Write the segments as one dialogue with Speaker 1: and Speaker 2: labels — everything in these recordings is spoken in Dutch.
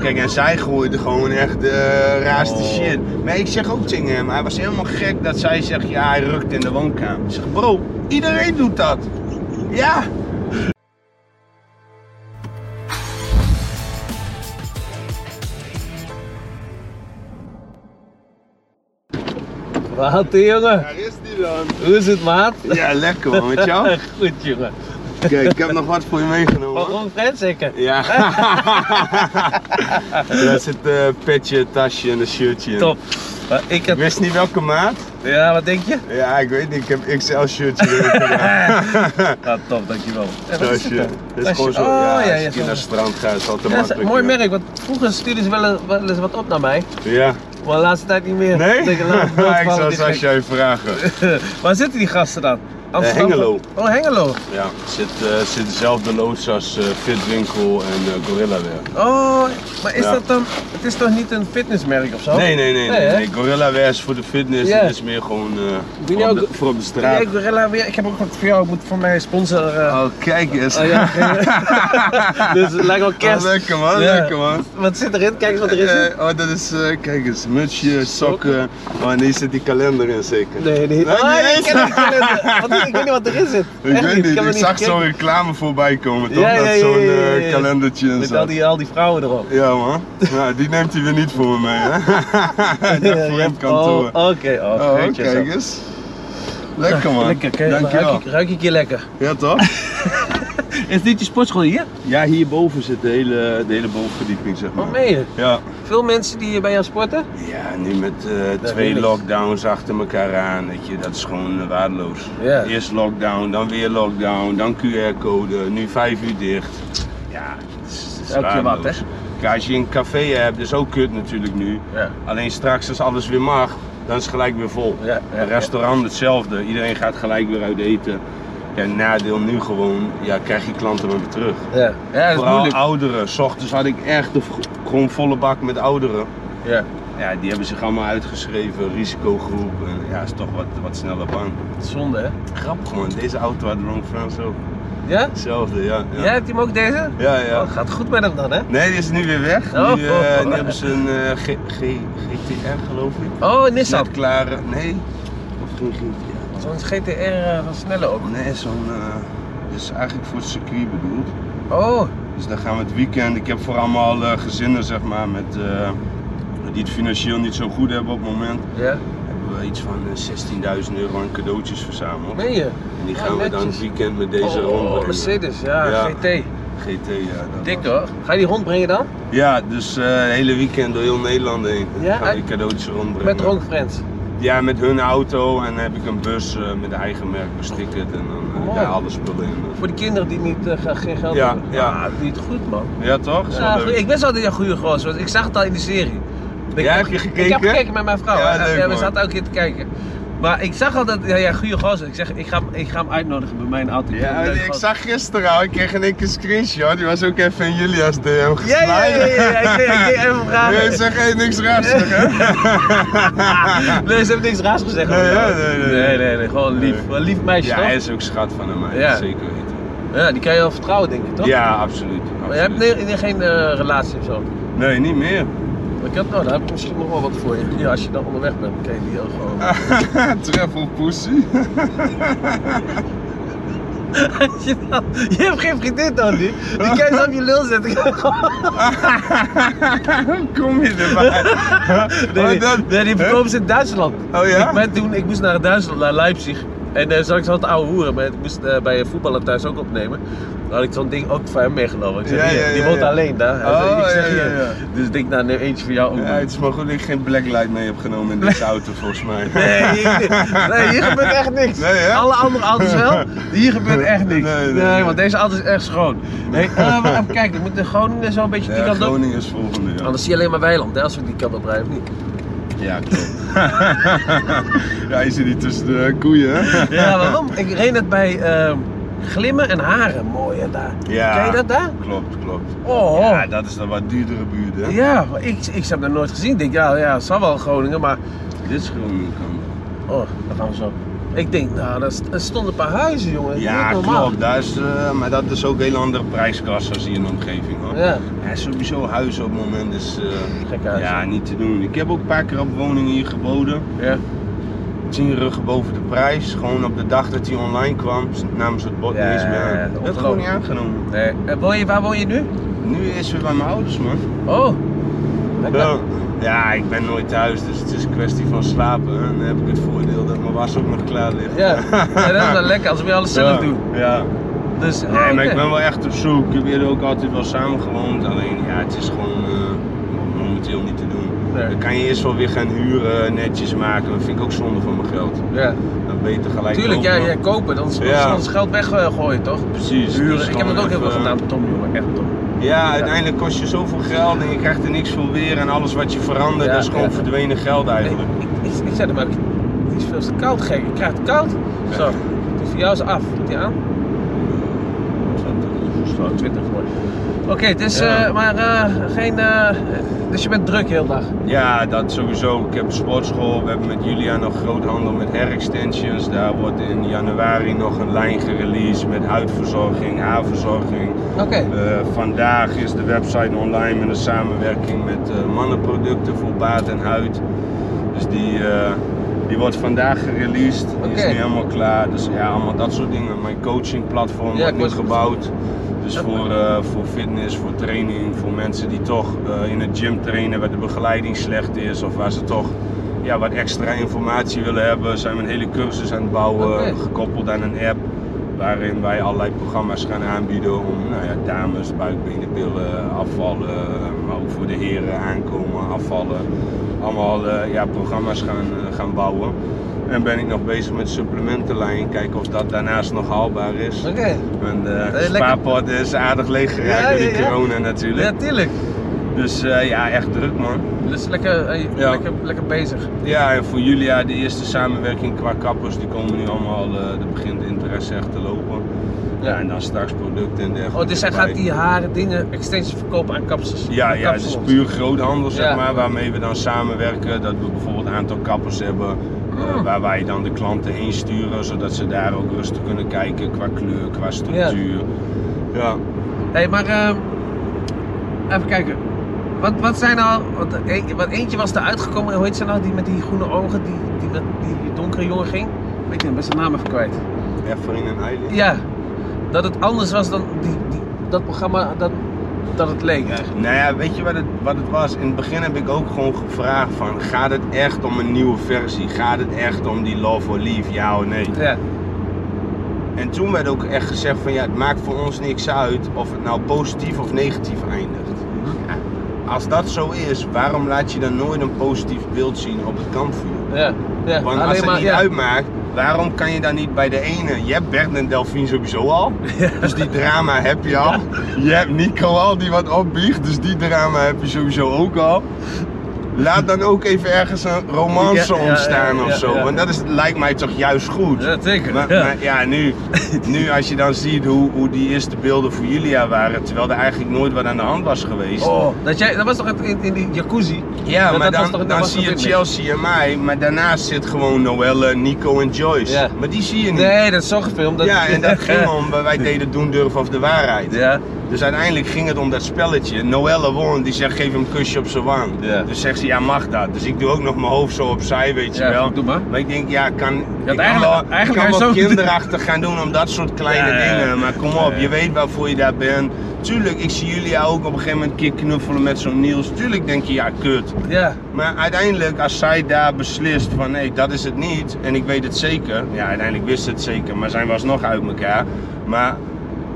Speaker 1: Kijk, en zij gooide gewoon echt de raarste
Speaker 2: Oh.
Speaker 1: shit. Maar ik zeg ook tegen hem, hij was helemaal gek dat zij zegt, ja, hij rukt in de woonkamer. Ik zeg, bro, iedereen doet dat. Ja.
Speaker 2: Wat, jongen?
Speaker 1: Daar is die dan.
Speaker 2: Hoe is het, maat?
Speaker 1: Ja, lekker man, met jou?
Speaker 2: Goed, jongen.
Speaker 1: Kijk, ik heb nog wat voor je meegenomen.
Speaker 2: Waarom zeker?
Speaker 1: Ja. Daar zit eh petje, tasje en een shirtje in.
Speaker 2: Top. Maar ik
Speaker 1: Ik
Speaker 2: heb...
Speaker 1: wist niet welke maat.
Speaker 2: Ja, wat denk je?
Speaker 1: Ja, ik weet niet. Ik heb XL shirtje erin gedaan.
Speaker 2: Ja, top, dankjewel. Eh, wat is dit
Speaker 1: Tasje.
Speaker 2: dan?
Speaker 1: Dat is
Speaker 2: Tasje.
Speaker 1: gewoon zo.
Speaker 2: Oh,
Speaker 1: ja,
Speaker 2: ja,
Speaker 1: als
Speaker 2: ja,
Speaker 1: je
Speaker 2: zo.
Speaker 1: naar het strand gaat, is het altijd
Speaker 2: Ja, is een
Speaker 1: makkelijk.
Speaker 2: mooi
Speaker 1: ja.
Speaker 2: merk, want vroeger stuurden ze wel, een- wel eens wat op naar mij,
Speaker 1: Ja.
Speaker 2: maar de laatste tijd niet meer.
Speaker 1: Nee?
Speaker 2: Ik denk, laat het
Speaker 1: Ja, ik
Speaker 2: vallen,
Speaker 1: zou
Speaker 2: dit
Speaker 1: het als
Speaker 2: gek.
Speaker 1: jij vragen.
Speaker 2: Waar zitten die gasten dan?
Speaker 1: Hengelo.
Speaker 2: Oh, Hengelo.
Speaker 1: Ja, het zit, eh, zit dezelfde loods als eh, Fitwinkel en eh, Gorilla Wear.
Speaker 2: Oh, maar is
Speaker 1: Ja.
Speaker 2: dat dan... Het is toch niet een fitnessmerk of zo?
Speaker 1: Nee, nee, nee. nee,
Speaker 2: Oh. hè?
Speaker 1: nee. Gorilla Wear is voor de fitness.
Speaker 2: Ja.
Speaker 1: Het is meer gewoon eh,
Speaker 2: Doe
Speaker 1: voor,
Speaker 2: jij
Speaker 1: op
Speaker 2: ook-
Speaker 1: de, voor op de straat.
Speaker 2: Kijk, Gorilla weer. Ik heb ook wat voor jou. Ik moet voor mijn sponsor... eh,
Speaker 1: Oh, kijk eens.
Speaker 2: Oh ja, dus het lijkt wel kerst.
Speaker 1: Oh, lekker man,
Speaker 2: Ja.
Speaker 1: lekker man.
Speaker 2: Wat zit erin? Kijk eens wat erin zit.
Speaker 1: Eh, oh, dat is, eh, kijk eens, mutsje, sokken. Oh, en hier zit die kalender in zeker.
Speaker 2: Nee, niet.
Speaker 1: Nee,
Speaker 2: Ah,
Speaker 1: niet
Speaker 2: ik
Speaker 1: eens.
Speaker 2: ken het, ik ken het. Wat is- Ik weet niet wat erin zit.
Speaker 1: Ik
Speaker 2: Echt
Speaker 1: weet
Speaker 2: niet,
Speaker 1: niet, ik,
Speaker 2: heb er
Speaker 1: zag
Speaker 2: gekeken.
Speaker 1: zo'n reclame voorbij komen, toch?
Speaker 2: Ja, ja,
Speaker 1: dat
Speaker 2: ja,
Speaker 1: zo'n
Speaker 2: ja,
Speaker 1: eh,
Speaker 2: ja, ja.
Speaker 1: kalendertje en
Speaker 2: Met al
Speaker 1: zo.
Speaker 2: die, al die vrouwen erop.
Speaker 1: Ja man, nou, die neemt hij weer niet voor me mee hè. dat
Speaker 2: Ja,
Speaker 1: voor
Speaker 2: ja.
Speaker 1: hem kantoor.
Speaker 2: Oh, Oké, oh,
Speaker 1: Oh,
Speaker 2: weet je
Speaker 1: kijk
Speaker 2: zo.
Speaker 1: eens. Lekker man.
Speaker 2: Lekker, kijk, ruik,
Speaker 1: Dankjewel.
Speaker 2: ik, ruik ik je lekker.
Speaker 1: Ja toch?
Speaker 2: Is dit je sportschool hier?
Speaker 1: Ja, hierboven zit de hele, de hele bovenverdieping zeg maar.
Speaker 2: Wat Oh, meen je?
Speaker 1: Ja.
Speaker 2: Veel mensen die hier bij jou sporten?
Speaker 1: Ja, nu met eh,
Speaker 2: weet
Speaker 1: twee
Speaker 2: ik.
Speaker 1: lockdowns achter elkaar aan, weet je, dat is gewoon eh, waardeloos.
Speaker 2: Ja.
Speaker 1: Eerst lockdown, dan weer lockdown, dan QR-code, nu vijf uur dicht. Ja, het is, het is
Speaker 2: Elke keer wat,
Speaker 1: waardeloos. Kijk, als je een café hebt, dat is ook kut natuurlijk nu.
Speaker 2: Ja.
Speaker 1: Alleen straks als alles weer mag, dan is het gelijk weer vol.
Speaker 2: Ja, ja,
Speaker 1: een restaurant hetzelfde, iedereen gaat gelijk weer uit eten. Ja, nadeel nu gewoon, ja, krijg je klanten weer terug.
Speaker 2: Ja, ja dat is
Speaker 1: Vooral
Speaker 2: moeilijk.
Speaker 1: ouderen, s ochtends had ik echt de v- gewoon volle bak met ouderen.
Speaker 2: Ja,
Speaker 1: Ja, die hebben zich allemaal uitgeschreven, risicogroep. En ja, is toch wat, wat sneller bang.
Speaker 2: dat is zonde hè?
Speaker 1: Grappig gewoon, deze auto had Ron Frans ook.
Speaker 2: Ja?
Speaker 1: Hetzelfde, ja.
Speaker 2: Jij
Speaker 1: Ja,
Speaker 2: hebt hem ook deze?
Speaker 1: ja.
Speaker 2: Oh,
Speaker 1: ja.
Speaker 2: het gaat goed met hem dan hè?
Speaker 1: Nee, die is nu weer weg.
Speaker 2: Oh.
Speaker 1: Nu, eh, nu hebben ze een eh, G- G- GTR, geloof ik.
Speaker 2: Oh,
Speaker 1: Is
Speaker 2: Nissan.
Speaker 1: dat klaar? Nou, Nee. Of geen GTR?
Speaker 2: Zo'n GTR eh, van Snelle ook.
Speaker 1: Nee, zo'n. eh, dit is eigenlijk voor het circuit bedoeld.
Speaker 2: Oh,
Speaker 1: Dus dan gaan we het weekend. Ik heb voor allemaal eh, gezinnen, zeg maar, met, eh, die het financieel niet zo goed hebben op het moment.
Speaker 2: ja.
Speaker 1: Hebben we iets van eh, 16.000 euro aan cadeautjes verzameld.
Speaker 2: Meen je?
Speaker 1: En die
Speaker 2: Oh,
Speaker 1: gaan we dan
Speaker 2: netjes.
Speaker 1: het weekend met deze
Speaker 2: oh,
Speaker 1: rondbrengen.
Speaker 2: oh, Mercedes, ja,
Speaker 1: Ja.
Speaker 2: GT.
Speaker 1: GT, ja. dat
Speaker 2: Dik
Speaker 1: was-
Speaker 2: hoor. Ga je die hond brengen dan?
Speaker 1: Ja, dus eh, het hele weekend door heel Nederland heen. En
Speaker 2: Ja,
Speaker 1: gaan we die
Speaker 2: en-
Speaker 1: cadeautjes rondbrengen.
Speaker 2: Met Ronk Friends.
Speaker 1: Ja, met hun auto en dan heb ik een bus eh, met eigen merk bestickerd en dan eh,
Speaker 2: Mooi.
Speaker 1: daar alle spullen in.
Speaker 2: Voor die kinderen die niet, eh, ga- geen geld
Speaker 1: Ja,
Speaker 2: hebben.
Speaker 1: ja.
Speaker 2: Ah, niet goed man.
Speaker 1: Ja, toch? Is wel
Speaker 2: Ja,
Speaker 1: leuk.
Speaker 2: goed. ik wist altijd een goede gozer, want ik zag het al in de serie. Ik-
Speaker 1: Ja, heb je
Speaker 2: Ik
Speaker 1: gekeken?
Speaker 2: heb gekeken met mijn vrouw.
Speaker 1: Ja,
Speaker 2: hè.
Speaker 1: leuk,
Speaker 2: ja, we
Speaker 1: man.
Speaker 2: zaten elke keer te kijken. Maar ik zag altijd, ja, ja goede gozer. Ik zeg, ik ga, hem- ik ga hem uitnodigen bij mijn auto. vind
Speaker 1: Ja,
Speaker 2: hem leuk,
Speaker 1: ik
Speaker 2: gozer.
Speaker 1: zag gisteren al, ik kreeg in één keer een screenshot. Die was ook even in Julia's DM
Speaker 2: Ja, ja, ja,
Speaker 1: gesliden.
Speaker 2: ja, ja, ik deed- ik deed even vragen.
Speaker 1: Nee, zeg geen niks raars, zeg, hè?
Speaker 2: Nee, ze hebben niks raars gezegd.
Speaker 1: Nee,
Speaker 2: over jou.
Speaker 1: ja, nee, nee.
Speaker 2: nee, nee, nee, gewoon lief.
Speaker 1: Nee.
Speaker 2: Wel een lief meisje,
Speaker 1: Ja,
Speaker 2: toch?
Speaker 1: hij is ook schat van hem,
Speaker 2: Ja.
Speaker 1: ja. zeker weten.
Speaker 2: Ja, die kan je wel vertrouwen, denk ik, toch?
Speaker 1: Ja, absoluut.
Speaker 2: Maar je hebt
Speaker 1: absoluut.
Speaker 2: ne- geen eh, relatie of zo.
Speaker 1: Nee, niet meer.
Speaker 2: Maar Ik heb, nou, daar heb ik misschien nog wel wat voor je. Ja, als je dan onderweg bent, kan je die ook gewoon.
Speaker 1: Treffel pussy.
Speaker 2: Als je, dan- je hebt geen vriendin dan nu. Die kan je zo op je lul zetten. Oh,
Speaker 1: Hoe kom je erbij?
Speaker 2: Nee,
Speaker 1: Oh, dat-
Speaker 2: die- nee, die
Speaker 1: Huh?
Speaker 2: verkopen ze in Duitsland.
Speaker 1: Oh ja?
Speaker 2: Ik, ben toen, ik moest naar Duitsland, naar Leipzig. En daar zag ik zo'n oude hoeren, maar ik moest eh, bij een voetballer thuis ook opnemen. Toen had ik zo'n ding ook voor hem meegenomen. Ik zeg,
Speaker 1: Ja,
Speaker 2: hier,
Speaker 1: ja, ja,
Speaker 2: die woont
Speaker 1: ja.
Speaker 2: alleen daar. Hij
Speaker 1: Oh,
Speaker 2: zei, ik zeg,
Speaker 1: ja, ja,
Speaker 2: hier.
Speaker 1: ja.
Speaker 2: Dus ik denk, nou neem eentje voor jou ook.
Speaker 1: Ja,
Speaker 2: mee.
Speaker 1: het is maar goed dat ik geen blacklight mee heb genomen in deze auto, volgens mij.
Speaker 2: Nee, hier, nee, hier gebeurt echt niks.
Speaker 1: Nee, hè?
Speaker 2: Alle andere auto's wel, hier gebeurt echt niks.
Speaker 1: Nee, nee, nee.
Speaker 2: want deze auto is echt schoon. Nee, eh, maar even kijken, ik moet de Groningen zo een beetje die
Speaker 1: Ja,
Speaker 2: kant op.
Speaker 1: Groningen is volgende, ja.
Speaker 2: Anders zie je alleen maar weiland, hè, als we die kant op rijden, of niet?
Speaker 1: Ja, klopt. ja, je zit niet tussen de koeien, hè?
Speaker 2: Ja, waarom? Ik reed net bij ehm, Glimmen en Haren, mooi hè, daar.
Speaker 1: Ja.
Speaker 2: Ken je dat daar?
Speaker 1: Klopt, klopt.
Speaker 2: Oh,
Speaker 1: Ja,
Speaker 2: ja,
Speaker 1: dat is dan wat duurdere buurt, hè?
Speaker 2: maar ik, ik heb dat nooit gezien. Ik denk, ja, ja, het zal wel Groningen, maar...
Speaker 1: Dit is Groningen, kan dat.
Speaker 2: Oh, dat gaan we zo. Ik denk, nou, daar st- er stonden een paar huizen, jongen.
Speaker 1: Ja,
Speaker 2: Niet normaal.
Speaker 1: klopt. Daar is, eh, maar dat is ook een hele andere prijskast als hier in de omgeving hoor.
Speaker 2: Ja,
Speaker 1: Ja, sowieso huizen op het moment is eh,
Speaker 2: gek huis.
Speaker 1: ja, niet te doen. Ik heb ook een paar keer op woningen hier geboden.
Speaker 2: Ja.
Speaker 1: 10 ruggen boven de prijs. Gewoon op de dag dat hij online kwam, namens het bot
Speaker 2: Ja,
Speaker 1: niet eens meer
Speaker 2: ja, ja,
Speaker 1: aan. Dat is gewoon niet aangenomen.
Speaker 2: Nee. En woon je, waar woon je nu?
Speaker 1: Nu is weer bij mijn ouders man.
Speaker 2: Oh.
Speaker 1: Ja. ja, ik ben nooit thuis, dus het is een kwestie van slapen. En dan heb ik het voordeel dat mijn was ook nog klaar ligt.
Speaker 2: Ja. ja, dat is wel lekker als we alles zelf
Speaker 1: Ja,
Speaker 2: doen.
Speaker 1: Ja.
Speaker 2: Dus,
Speaker 1: Nee,
Speaker 2: ah,
Speaker 1: maar ik
Speaker 2: oké.
Speaker 1: ben wel echt op zoek. Ik heb eerder ook altijd wel samen gewoond. Alleen ja, het is gewoon eh, momenteel niet te doen.
Speaker 2: Nee.
Speaker 1: Dan kan je eerst wel weer gaan huren, netjes maken. Dat vind ik ook zonde van mijn geld.
Speaker 2: Ja.
Speaker 1: Dan beter gelijk.
Speaker 2: Tuurlijk, ja,
Speaker 1: kopen.
Speaker 2: ja, kopen. Dan is dan
Speaker 1: Ja.
Speaker 2: is ons geld weggooien, toch?
Speaker 1: Precies. Dus
Speaker 2: Huren. Ik heb
Speaker 1: gewoon
Speaker 2: dat ook heel veel
Speaker 1: even- eh,
Speaker 2: gedaan, Tom, jongen. Echt, Tom.
Speaker 1: Ja, uiteindelijk kost je zoveel geld en je krijgt er niks voor weer. En alles wat je verandert,
Speaker 2: Ja,
Speaker 1: dat is gewoon
Speaker 2: ja.
Speaker 1: verdwenen geld
Speaker 2: Nee,
Speaker 1: eigenlijk.
Speaker 2: ik, ik, ik zei hem maar, het is veel te koud, gek. Ik krijg het koud. Zo. Dus Die voor jou is af. Doet die aan? Oh, 20 mooi. Oké, het is,
Speaker 1: Ja.
Speaker 2: eh, maar eh, geen, eh, dus je bent druk heel dag.
Speaker 1: Ja, dat sowieso. Ik heb een sportschool. We hebben met Julia nog groothandel met hair extensions. Daar wordt in januari nog een lijn gereleased met huidverzorging, haarverzorging.
Speaker 2: Oké.
Speaker 1: Eh, vandaag is de website online met een samenwerking met eh, mannenproducten voor baard en huid. Dus die, eh, die wordt vandaag gereleased. Die is
Speaker 2: Oké.
Speaker 1: nu helemaal klaar. Dus ja, allemaal dat soort dingen. Mijn coachingplatform
Speaker 2: Ja,
Speaker 1: wordt
Speaker 2: ik
Speaker 1: nu
Speaker 2: was-
Speaker 1: gebouwd. Dus
Speaker 2: Ja.
Speaker 1: voor, eh, voor fitness, voor training, voor mensen die toch eh, in het gym trainen waar de begeleiding slecht is of waar ze toch ja, wat extra informatie willen hebben, zijn we een hele cursus aan het bouwen,
Speaker 2: Oké.
Speaker 1: gekoppeld aan een app waarin wij allerlei programma's gaan aanbieden om nou ja, dames, buikbenen, billen, afvallen, maar ook voor de heren aankomen, afvallen, allemaal eh, ja, programma's gaan, eh, gaan bouwen. En ben ik nog bezig met supplementenlijn, kijken of dat daarnaast nog haalbaar is.
Speaker 2: Oké.
Speaker 1: En de
Speaker 2: Eh, lekker.
Speaker 1: spaarpot is aardig leeg geraakt
Speaker 2: Ja,
Speaker 1: door die
Speaker 2: ja, ja.
Speaker 1: corona
Speaker 2: Ja,
Speaker 1: natuurlijk.
Speaker 2: tuurlijk.
Speaker 1: Dus eh, ja, echt druk man.
Speaker 2: Dus lekker, eh,
Speaker 1: Ja.
Speaker 2: lekker, lekker bezig.
Speaker 1: Ja, en voor Julia, de eerste samenwerking qua kappers, die komen nu allemaal, eh er begint de interesse echt te lopen. Ja, en dan straks producten en dergelijke.
Speaker 2: Oh, dus hij gaat
Speaker 1: erbij.
Speaker 2: die haren, dingen, extensies verkopen aan kapsels.
Speaker 1: Ja,
Speaker 2: aan
Speaker 1: ja, het is
Speaker 2: kapsalons.
Speaker 1: puur groothandel, zeg
Speaker 2: Ja.
Speaker 1: maar, waarmee we dan samenwerken. Dat we bijvoorbeeld een aantal kappers hebben, eh,
Speaker 2: Mm.
Speaker 1: waar wij dan de klanten heen sturen, zodat ze daar ook rustig kunnen kijken qua kleur, qua structuur. Ja,
Speaker 2: Hé, maar ehm, even kijken. Wat, wat zijn nou, want, e- want eentje was er uitgekomen, hoe heet ze nou, die met die groene ogen, die, die met die donkere jongen ging? Weet je, ik ben zijn naam even kwijt.
Speaker 1: Efferin en Eileen.
Speaker 2: Ja, dat het anders was dan die, die, dat programma, dat, dat het leek eigenlijk.
Speaker 1: Nou ja, weet je wat het, wat het was? In het begin heb ik ook gewoon gevraagd van, gaat het echt om een nieuwe versie? Gaat het echt om die Love or Leave, ja of nee?
Speaker 2: Ja,
Speaker 1: En toen werd ook echt gezegd van, ja, het maakt voor ons niks uit of het nou positief of negatief eindigt. Als dat zo is, waarom laat je dan nooit een positief beeld zien op het kampvuur?
Speaker 2: ja, ja.
Speaker 1: Want als het niet uitmaakt, waarom kan je dan niet bij de ene? Je hebt Bert en Delphine sowieso al, dus die drama heb je al. Je hebt Nico al die wat opbiegt, dus die drama heb je sowieso ook al. Laat dan ook even ergens een romance
Speaker 2: Ja, ja, ja,
Speaker 1: ontstaan
Speaker 2: ja,
Speaker 1: of zo,
Speaker 2: ja.
Speaker 1: want dat is, lijkt mij toch juist goed.
Speaker 2: Ja, zeker.
Speaker 1: Maar,
Speaker 2: ja.
Speaker 1: maar ja, nu, nu als je dan ziet hoe, hoe die eerste beelden voor Julia waren, terwijl er eigenlijk nooit wat aan de hand was geweest.
Speaker 2: Oh, dat, jij, dat was toch het- in, in die jacuzzi?
Speaker 1: Ja,
Speaker 2: Dat-
Speaker 1: maar
Speaker 2: dat was
Speaker 1: dan,
Speaker 2: toch- dat
Speaker 1: dan
Speaker 2: was
Speaker 1: zie
Speaker 2: toch
Speaker 1: je
Speaker 2: dit niet?
Speaker 1: Chelsea en mij, maar daarnaast zit gewoon Noelle, Nico en Joyce.
Speaker 2: Ja.
Speaker 1: Maar die zie je niet.
Speaker 2: Nee, dat is zo gefilmd. Dat,
Speaker 1: ja, en dat ging om, wij deden doen durven of de waarheid.
Speaker 2: Ja,
Speaker 1: Dus uiteindelijk ging het om dat spelletje. Noelle won, die zegt geef hem een kusje op zijn wang.
Speaker 2: Ja.
Speaker 1: Dus zegt ze, ja mag dat. Dus ik doe ook nog mijn hoofd zo opzij, weet je
Speaker 2: Ja,
Speaker 1: wel.
Speaker 2: doe maar.
Speaker 1: ik denk, ja, kan, ik kan
Speaker 2: eigenlijk-
Speaker 1: wel,
Speaker 2: eigenlijk
Speaker 1: ik
Speaker 2: hij
Speaker 1: kan wel
Speaker 2: zo-
Speaker 1: kinderachtig gaan doen om dat soort kleine
Speaker 2: Ja, ja, ja.
Speaker 1: dingen. Maar kom op,
Speaker 2: Ja, ja.
Speaker 1: je weet waarvoor je daar bent. Tuurlijk, ik zie jullie ook op een gegeven moment een keer knuffelen met zo'n Niels. Tuurlijk denk je, ja kut.
Speaker 2: ja.
Speaker 1: Maar uiteindelijk, als zij daar beslist van nee, dat is het niet en ik weet het zeker. Ja, uiteindelijk wist ze het zeker, maar zijn we alsnog uit elkaar. Maar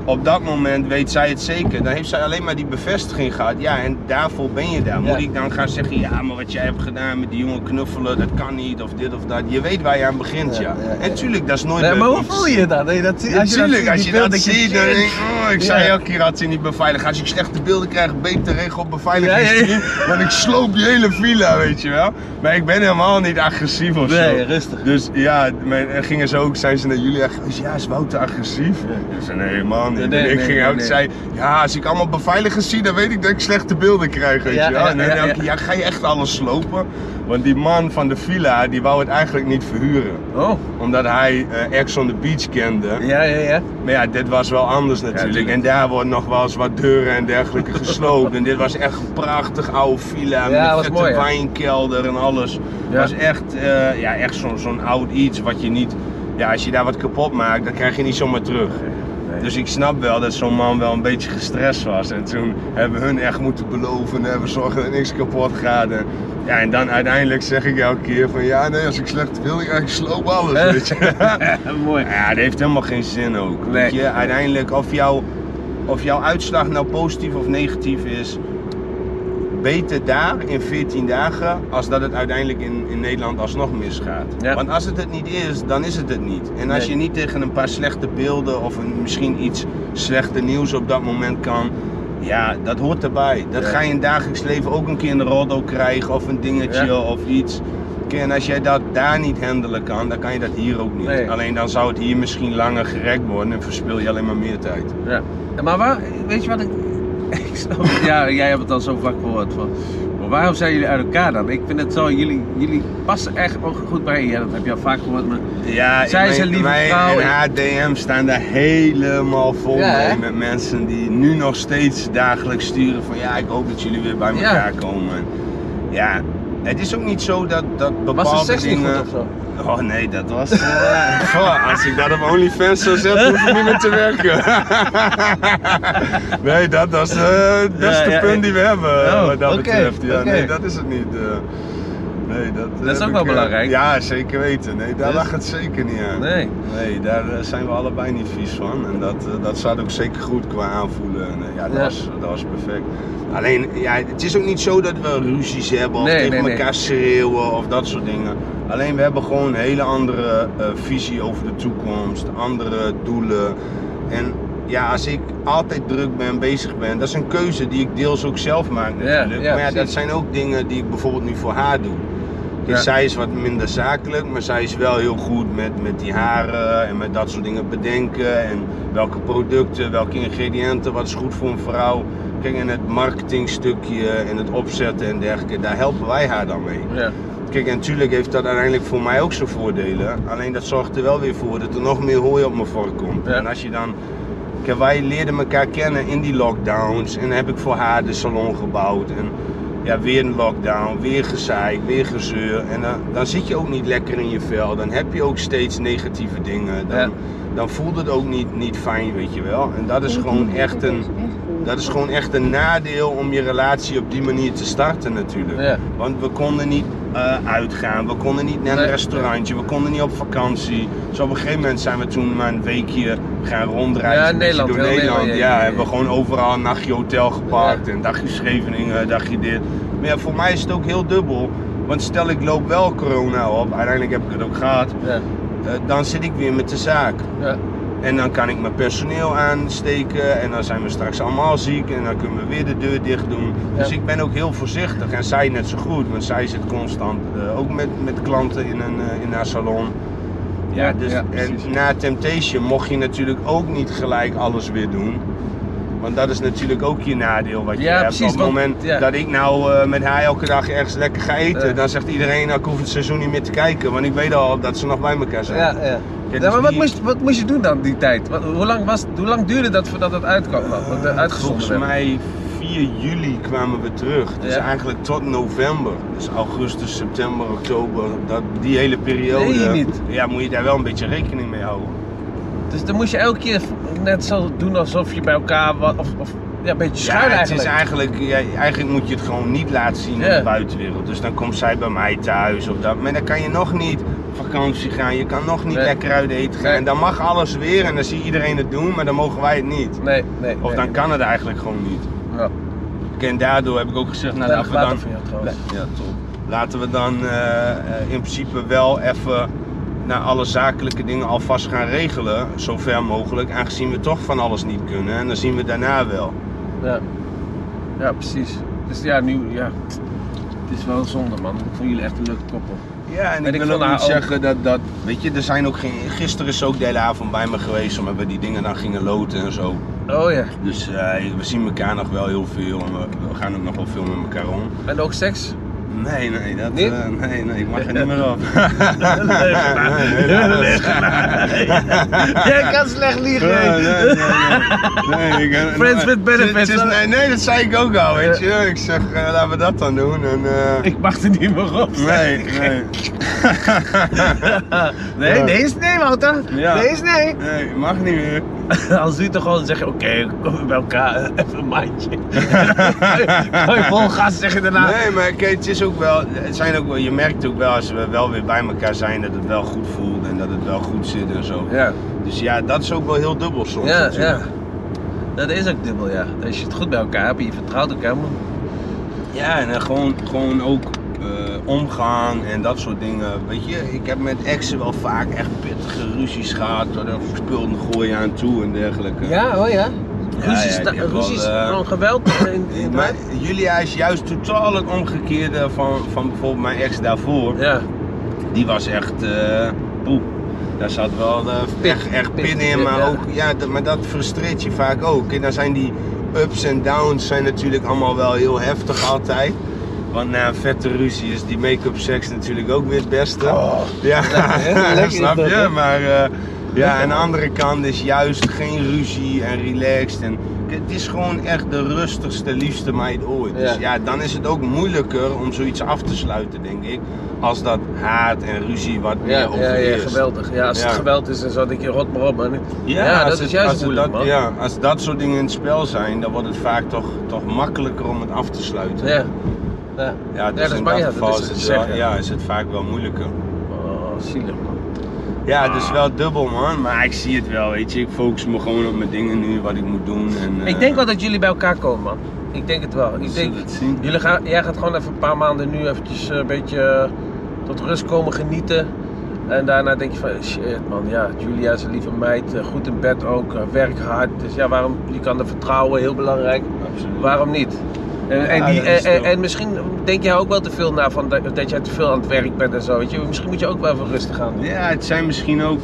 Speaker 1: op dat moment weet zij het zeker. Dan heeft zij alleen maar die bevestiging gehad. Ja, en daarvoor ben je daar. Moet
Speaker 2: Ja.
Speaker 1: ik dan gaan zeggen, ja, maar wat jij hebt gedaan met die jongen knuffelen, dat kan niet of dit of dat. Je weet waar je aan begint,
Speaker 2: Ja,
Speaker 1: ja.
Speaker 2: ja, ja.
Speaker 1: En tuurlijk, dat is nooit
Speaker 2: Nee,
Speaker 1: leuk
Speaker 2: maar
Speaker 1: om
Speaker 2: hoe
Speaker 1: te
Speaker 2: voel je dat? Nee, dat zie- als je
Speaker 1: Natuurlijk,
Speaker 2: dat
Speaker 1: als
Speaker 2: ziet,
Speaker 1: je
Speaker 2: die
Speaker 1: dat
Speaker 2: beelden,
Speaker 1: ziet, dan
Speaker 2: shit.
Speaker 1: denk ik, oh, ik
Speaker 2: Ja.
Speaker 1: zei elke keer had ze niet beveiligd. Als ik slechte beelden krijg, beter regel op beveiligingsteam.
Speaker 2: Ja,
Speaker 1: Want ik sloop die hele villa, weet je wel. Maar ik ben helemaal niet agressief of zo.
Speaker 2: Nee, rustig.
Speaker 1: Dus ja, mijn, en gingen ze ook, zijn ze naar jullie echt, ja, is Wouter agressief? Ik zei, nee man, niet.
Speaker 2: Nee,
Speaker 1: en ik
Speaker 2: nee,
Speaker 1: ging
Speaker 2: nee,
Speaker 1: ook
Speaker 2: nee.
Speaker 1: zei, ja, als ik allemaal beveiligers zie, dan weet ik dat ik slechte beelden krijg, weet
Speaker 2: Ja,
Speaker 1: je wel.
Speaker 2: ja,
Speaker 1: En dan
Speaker 2: ja,
Speaker 1: denk
Speaker 2: ja.
Speaker 1: ik, ja, ga je echt alles slopen? Want die man van de villa, die wou het eigenlijk niet verhuren.
Speaker 2: Oh,
Speaker 1: Omdat hij eh Ex on the Beach kende.
Speaker 2: ja, ja, ja.
Speaker 1: Maar ja, dit was wel anders natuurlijk.
Speaker 2: tuurlijk.
Speaker 1: en daar wordt nog wel eens wat deuren en dergelijke gesloopt. en dit was echt een prachtig oude villa
Speaker 2: Ja, was
Speaker 1: met een
Speaker 2: mooi, hè?
Speaker 1: wijnkelder en alles. Het
Speaker 2: Ja.
Speaker 1: was echt, eh, ja, echt zo'n zo'n oud iets wat je niet... Ja, als je daar wat kapot maakt, dan krijg je niet zomaar terug.
Speaker 2: Nee.
Speaker 1: Dus ik snap wel dat zo'n man wel een beetje gestrest was. En toen hebben we hun echt moeten beloven en hebben zorgen dat niks kapot gaat. En, ja, en dan uiteindelijk zeg ik elke keer van ja, nee, als ik slecht wil, ik ik sloop alles, weet je.
Speaker 2: Mooi.
Speaker 1: Ja, dat heeft helemaal geen zin ook.
Speaker 2: Nee.
Speaker 1: Weet je, uiteindelijk, of, jouw of jouw uitslag nou positief of negatief is, beter daar in 14 dagen, als dat het uiteindelijk in, in Nederland alsnog misgaat.
Speaker 2: Ja.
Speaker 1: Want als het het niet is, dan is het het niet. En als
Speaker 2: Nee.
Speaker 1: je niet tegen een paar slechte beelden of een, misschien iets slechte nieuws op dat moment kan. Ja, dat hoort erbij. Dat
Speaker 2: Ja.
Speaker 1: ga je in het dagelijks leven ook een keer in de roddo krijgen of een dingetje
Speaker 2: Ja.
Speaker 1: of iets. Oké, En als jij dat daar niet handelen kan, dan kan je dat hier ook niet.
Speaker 2: Nee.
Speaker 1: Alleen dan zou het hier misschien langer gerekt worden en verspil je alleen maar meer tijd.
Speaker 2: Ja. Maar waar, weet je wat ik... ik snap, ja, jij hebt het al zo vaak gehoord. Van, maar waarom zijn jullie uit elkaar dan? Ik vind het zo, jullie, jullie passen echt ook goed bij je. Ja, dat heb je al vaak gehoord. Maar
Speaker 1: Ja,
Speaker 2: Zij
Speaker 1: ik
Speaker 2: is
Speaker 1: weet,
Speaker 2: een lieve
Speaker 1: mijn
Speaker 2: vrouw.
Speaker 1: en haar DM staan daar helemaal vol
Speaker 2: Ja,
Speaker 1: mee
Speaker 2: hè?
Speaker 1: met mensen die nu nog steeds dagelijks sturen van ja, ik hoop dat jullie weer bij
Speaker 2: Ja.
Speaker 1: elkaar komen. Ja, het is ook niet zo dat, dat bepaalde
Speaker 2: was de seks niet
Speaker 1: dingen...
Speaker 2: goed of zo?
Speaker 1: Oh nee, dat was. eh, goh, als ik dat op OnlyFans zou zetten, hoef ik niet meer te werken. nee, dat was eh, het beste
Speaker 2: Ja, ja,
Speaker 1: punt die we hebben,
Speaker 2: Oh,
Speaker 1: wat dat
Speaker 2: oké,
Speaker 1: betreft. Ja,
Speaker 2: oké.
Speaker 1: Nee, dat is het niet. eh. nee, dat,
Speaker 2: Dat is
Speaker 1: heb
Speaker 2: ook wel
Speaker 1: ik, eh,
Speaker 2: belangrijk.
Speaker 1: ja, zeker weten. Nee, daar
Speaker 2: Dus-
Speaker 1: lag het zeker niet aan.
Speaker 2: Nee.
Speaker 1: Nee, daar eh, zijn we allebei niet vies van. En dat, eh, dat staat ook zeker goed qua aanvoelen. En, eh, ja, dat,
Speaker 2: Ja.
Speaker 1: Was, dat was perfect. Alleen, ja, het is ook niet zo dat we ruzies hebben of
Speaker 2: Nee,
Speaker 1: tegen
Speaker 2: nee, nee.
Speaker 1: elkaar schreeuwen of dat soort dingen. Alleen we hebben gewoon een hele andere eh, visie over de toekomst, andere doelen. En ja, als ik altijd druk ben, bezig ben, dat is een keuze die ik deels ook zelf maak natuurlijk.
Speaker 2: ja,
Speaker 1: maar ja, dat
Speaker 2: precies.
Speaker 1: zijn ook dingen die ik bijvoorbeeld nu voor haar doe. Kijk,
Speaker 2: Ja.
Speaker 1: Dus Zij is wat minder zakelijk, maar zij is wel heel goed met, met die haren en met dat soort dingen bedenken. En welke producten, welke ingrediënten, wat is goed voor een vrouw. Kijk, en het marketingstukje en het opzetten en dergelijke, daar helpen wij haar dan mee.
Speaker 2: Ja.
Speaker 1: Kijk, en natuurlijk heeft dat uiteindelijk voor mij ook zijn voordelen. Alleen dat zorgt er wel weer voor dat er nog meer hooi op mijn vork komt.
Speaker 2: Ja.
Speaker 1: En als je dan. Kijk, wij leerden elkaar kennen in die lockdowns. En heb ik voor haar de salon gebouwd. En ja, weer een lockdown, weer gezeik, weer gezeur. En dan, dan zit je ook niet lekker in je vel. Dan heb je ook steeds negatieve dingen. Dan,
Speaker 2: Ja.
Speaker 1: dan voelt het ook niet, niet fijn, weet je wel. En dat is gewoon echt een. Dat is gewoon echt een nadeel om je relatie op die manier te starten natuurlijk.
Speaker 2: Ja.
Speaker 1: Want we konden niet eh, uitgaan, we konden niet naar een
Speaker 2: Nee.
Speaker 1: restaurantje, we konden niet op vakantie. Dus op een gegeven moment zijn we toen maar een weekje gaan rondreizen.
Speaker 2: Ja,
Speaker 1: een beetje
Speaker 2: Nederland,
Speaker 1: door
Speaker 2: heel
Speaker 1: Nederland.
Speaker 2: Nederland,
Speaker 1: ja,
Speaker 2: ja, ja, ja.
Speaker 1: hebben we gewoon overal een nachtje hotel gepakt en een dagje Scheveningen, een dagje dit. Maar ja, voor mij is het ook heel dubbel. Want stel ik loop wel corona op, uiteindelijk heb ik het ook gehad,
Speaker 2: Ja.
Speaker 1: eh, dan zit ik weer met de zaak.
Speaker 2: Ja.
Speaker 1: En dan kan ik mijn personeel aansteken en dan zijn we straks allemaal ziek en dan kunnen we weer de deur dicht doen.
Speaker 2: Ja.
Speaker 1: Dus ik ben ook heel voorzichtig en zij net zo goed, want zij zit constant eh, ook met, met klanten in, een, eh, in haar salon. Ja,
Speaker 2: Ja,
Speaker 1: dus,
Speaker 2: ja,
Speaker 1: en
Speaker 2: precies.
Speaker 1: na Temptation mocht je natuurlijk ook niet gelijk alles weer doen. Want dat is natuurlijk ook je nadeel wat je
Speaker 2: Ja,
Speaker 1: hebt.
Speaker 2: precies,
Speaker 1: Op het
Speaker 2: want-
Speaker 1: moment
Speaker 2: ja.
Speaker 1: dat ik nou eh, met haar elke dag ergens lekker ga eten,
Speaker 2: Ja.
Speaker 1: dan zegt iedereen, nou, ik hoef het seizoen niet meer te kijken, want ik weet al dat ze nog bij elkaar zijn.
Speaker 2: Ja, ja.
Speaker 1: Ja,
Speaker 2: Ja,
Speaker 1: dus
Speaker 2: maar wat
Speaker 1: die-
Speaker 2: moest, wat moest je doen dan die tijd? Wat, hoe, lang was, hoe lang duurde dat voordat het uitkwam? dan? Want, eh, uitgezonden
Speaker 1: Volgens
Speaker 2: werd?
Speaker 1: mij 4 juli kwamen we terug. Dus
Speaker 2: Ja.
Speaker 1: eigenlijk tot november. Dus augustus, september, oktober. Dat, die hele periode.
Speaker 2: Nee, niet.
Speaker 1: Ja, moet je daar wel een beetje rekening mee houden.
Speaker 2: Dus dan moest je elke keer net zo doen alsof je bij elkaar was. Of, of ja, een beetje schuil
Speaker 1: ja, het
Speaker 2: eigenlijk.
Speaker 1: is eigenlijk, ja, eigenlijk moet je het gewoon niet laten zien aan
Speaker 2: Ja.
Speaker 1: de buitenwereld. Dus dan komt zij bij mij thuis of dat. Maar dan kan je nog niet op vakantie gaan. Je kan nog niet
Speaker 2: Nee.
Speaker 1: lekker uit eten gaan.
Speaker 2: Nee.
Speaker 1: En dan mag alles weer en dan zie iedereen het doen, maar dan mogen wij het niet.
Speaker 2: Nee, nee.
Speaker 1: Of
Speaker 2: nee.
Speaker 1: dan kan het eigenlijk gewoon niet.
Speaker 2: Ja.
Speaker 1: En daardoor heb ik ook gezegd, nou,
Speaker 2: Erg
Speaker 1: laten we
Speaker 2: water
Speaker 1: dan...
Speaker 2: voor jou trouwens.
Speaker 1: Ja, top. Laten we dan eh, eh, in principe wel even naar alle zakelijke dingen alvast gaan regelen, zo ver mogelijk, aangezien we toch van alles niet kunnen. En dan zien we daarna wel.
Speaker 2: Ja. ja, precies. Dus ja, nu, ja. Het is wel een zonde, man. Ik vond jullie echt een leuke koppel.
Speaker 1: Ja, en
Speaker 2: Weet
Speaker 1: ik
Speaker 2: ik
Speaker 1: wil
Speaker 2: veel,
Speaker 1: ook niet
Speaker 2: nou, ook-
Speaker 1: zeggen dat, dat... Weet je, er zijn ook geen... Gisteren is ook de hele avond bij me geweest, omdat we die dingen dan gingen loten en zo.
Speaker 2: Oh ja.
Speaker 1: Dus eh, we zien elkaar nog wel heel veel en we, we gaan ook nog wel veel met elkaar om.
Speaker 2: En ook seks?
Speaker 1: Nee, nee, dat,
Speaker 2: Niet?
Speaker 1: eh, nee, nee, ik mag er niet meer op.
Speaker 2: Jij kan slecht liegen.
Speaker 1: Nee, nee, nee, nee. Nee, ik,
Speaker 2: Friends with benefits.
Speaker 1: Het is- nee, nee, dat zei ik ook al, weet je. Ik zeg, eh, laten we dat dan doen. En, eh,
Speaker 2: Ik mag er niet meer op.
Speaker 1: nee, nee.
Speaker 2: nee,
Speaker 1: Ja.
Speaker 2: nee is nee, Wouter.
Speaker 1: Ja.
Speaker 2: Nee is nee.
Speaker 1: Nee, mag niet meer.
Speaker 2: Als u toch gewoon zegt, oké, kom weer bij elkaar, eh, even een maandje. Kan je vol gas zeggen daarna.
Speaker 1: Nee, maar kijk, het is ook wel, het zijn ook wel, je merkt ook wel als we wel weer bij elkaar zijn dat het wel goed voelt en dat het wel goed zit en zo.
Speaker 2: Ja,
Speaker 1: Dus ja, dat is ook wel heel dubbel soms.
Speaker 2: ja, ja.
Speaker 1: natuurlijk.
Speaker 2: Dat is ook dubbel, ja. Als je het goed bij elkaar hebt en je vertrouwt elkaar, moet...
Speaker 1: Ja, en dan gewoon, gewoon ook eh, omgaan en dat soort dingen. Weet je, ik heb met exen wel vaak echt pittige ruzies gehad. Door er spul te gooien aan toe en dergelijke.
Speaker 2: Ja, oh ja. Ruzies,
Speaker 1: ja,
Speaker 2: da-
Speaker 1: ik heb wel,
Speaker 2: ruzies
Speaker 1: eh,
Speaker 2: gewoon geweld in, in, in
Speaker 1: Maar Julia is juist totaal het omgekeerde van, van bijvoorbeeld mijn ex daarvoor.
Speaker 2: Ja,
Speaker 1: Die was echt, eh poeh, daar zat wel eh pech echt
Speaker 2: pech,
Speaker 1: binnen in.
Speaker 2: ja,
Speaker 1: Maar,
Speaker 2: ja.
Speaker 1: ook, ja, dat, maar dat frustreert je vaak ook. En dan zijn die ups en downs zijn natuurlijk allemaal wel heel heftig altijd. Want na een vette ruzie is die make-up seks natuurlijk ook weer het beste.
Speaker 2: Oh,
Speaker 1: ja,
Speaker 2: lekker, hè? Lekker is
Speaker 1: snap
Speaker 2: dat,
Speaker 1: je?
Speaker 2: hè?
Speaker 1: Maar eh, ja, aan de andere kant is juist geen ruzie en relaxed. En, het is gewoon echt de rustigste, liefste meid ooit. Dus
Speaker 2: Ja.
Speaker 1: ja, dan is het ook moeilijker om zoiets af te sluiten, denk ik. Als dat haat en ruzie wat
Speaker 2: ja,
Speaker 1: meer
Speaker 2: ja, ja,
Speaker 1: overheerst.
Speaker 2: geweldig. Ja, als
Speaker 1: Ja.
Speaker 2: het geweld is en zo, denk je, rot maar op, man.
Speaker 1: Ja,
Speaker 2: dat
Speaker 1: als
Speaker 2: is
Speaker 1: het-
Speaker 2: juist
Speaker 1: als het
Speaker 2: moeilijk,
Speaker 1: dat,
Speaker 2: man.
Speaker 1: Ja, als dat soort dingen in het spel zijn, dan wordt het vaak toch, toch makkelijker om het af te sluiten.
Speaker 2: Ja. Ja,
Speaker 1: Ja, dus
Speaker 2: dat is
Speaker 1: in
Speaker 2: maar-
Speaker 1: dat
Speaker 2: ja, dat
Speaker 1: geval
Speaker 2: is
Speaker 1: is,
Speaker 2: te
Speaker 1: het wel-
Speaker 2: zeggen.
Speaker 1: ja, is het vaak wel moeilijker.
Speaker 2: Oh, zielig, man.
Speaker 1: Ja, dus wel dubbel man, maar ik zie het wel, weet je. Ik focus me gewoon op mijn dingen nu, wat ik moet doen. En, eh,
Speaker 2: Ik denk wel dat jullie bij elkaar komen, man. Ik denk het wel. Ik
Speaker 1: zullen
Speaker 2: denk,
Speaker 1: we het zien.
Speaker 2: jullie gaan, jij gaat gewoon even een paar maanden nu eventjes eh, een beetje eh, tot rust komen genieten. En daarna denk je van, shit man, ja, Julia is een lieve meid, eh, goed in bed ook, eh, werk hard. Dus ja, waarom, je kan er vertrouwen, heel belangrijk.
Speaker 1: Absoluut.
Speaker 2: Waarom niet? En, en,
Speaker 1: Ja,
Speaker 2: die,
Speaker 1: dat is
Speaker 2: en, en-
Speaker 1: wel-
Speaker 2: en misschien denk jij ook wel te veel na van dat, dat jij te veel aan het werk bent en zo. Weet je? Misschien moet je ook wel even rustig aan doen.
Speaker 1: Ja, het zijn misschien ook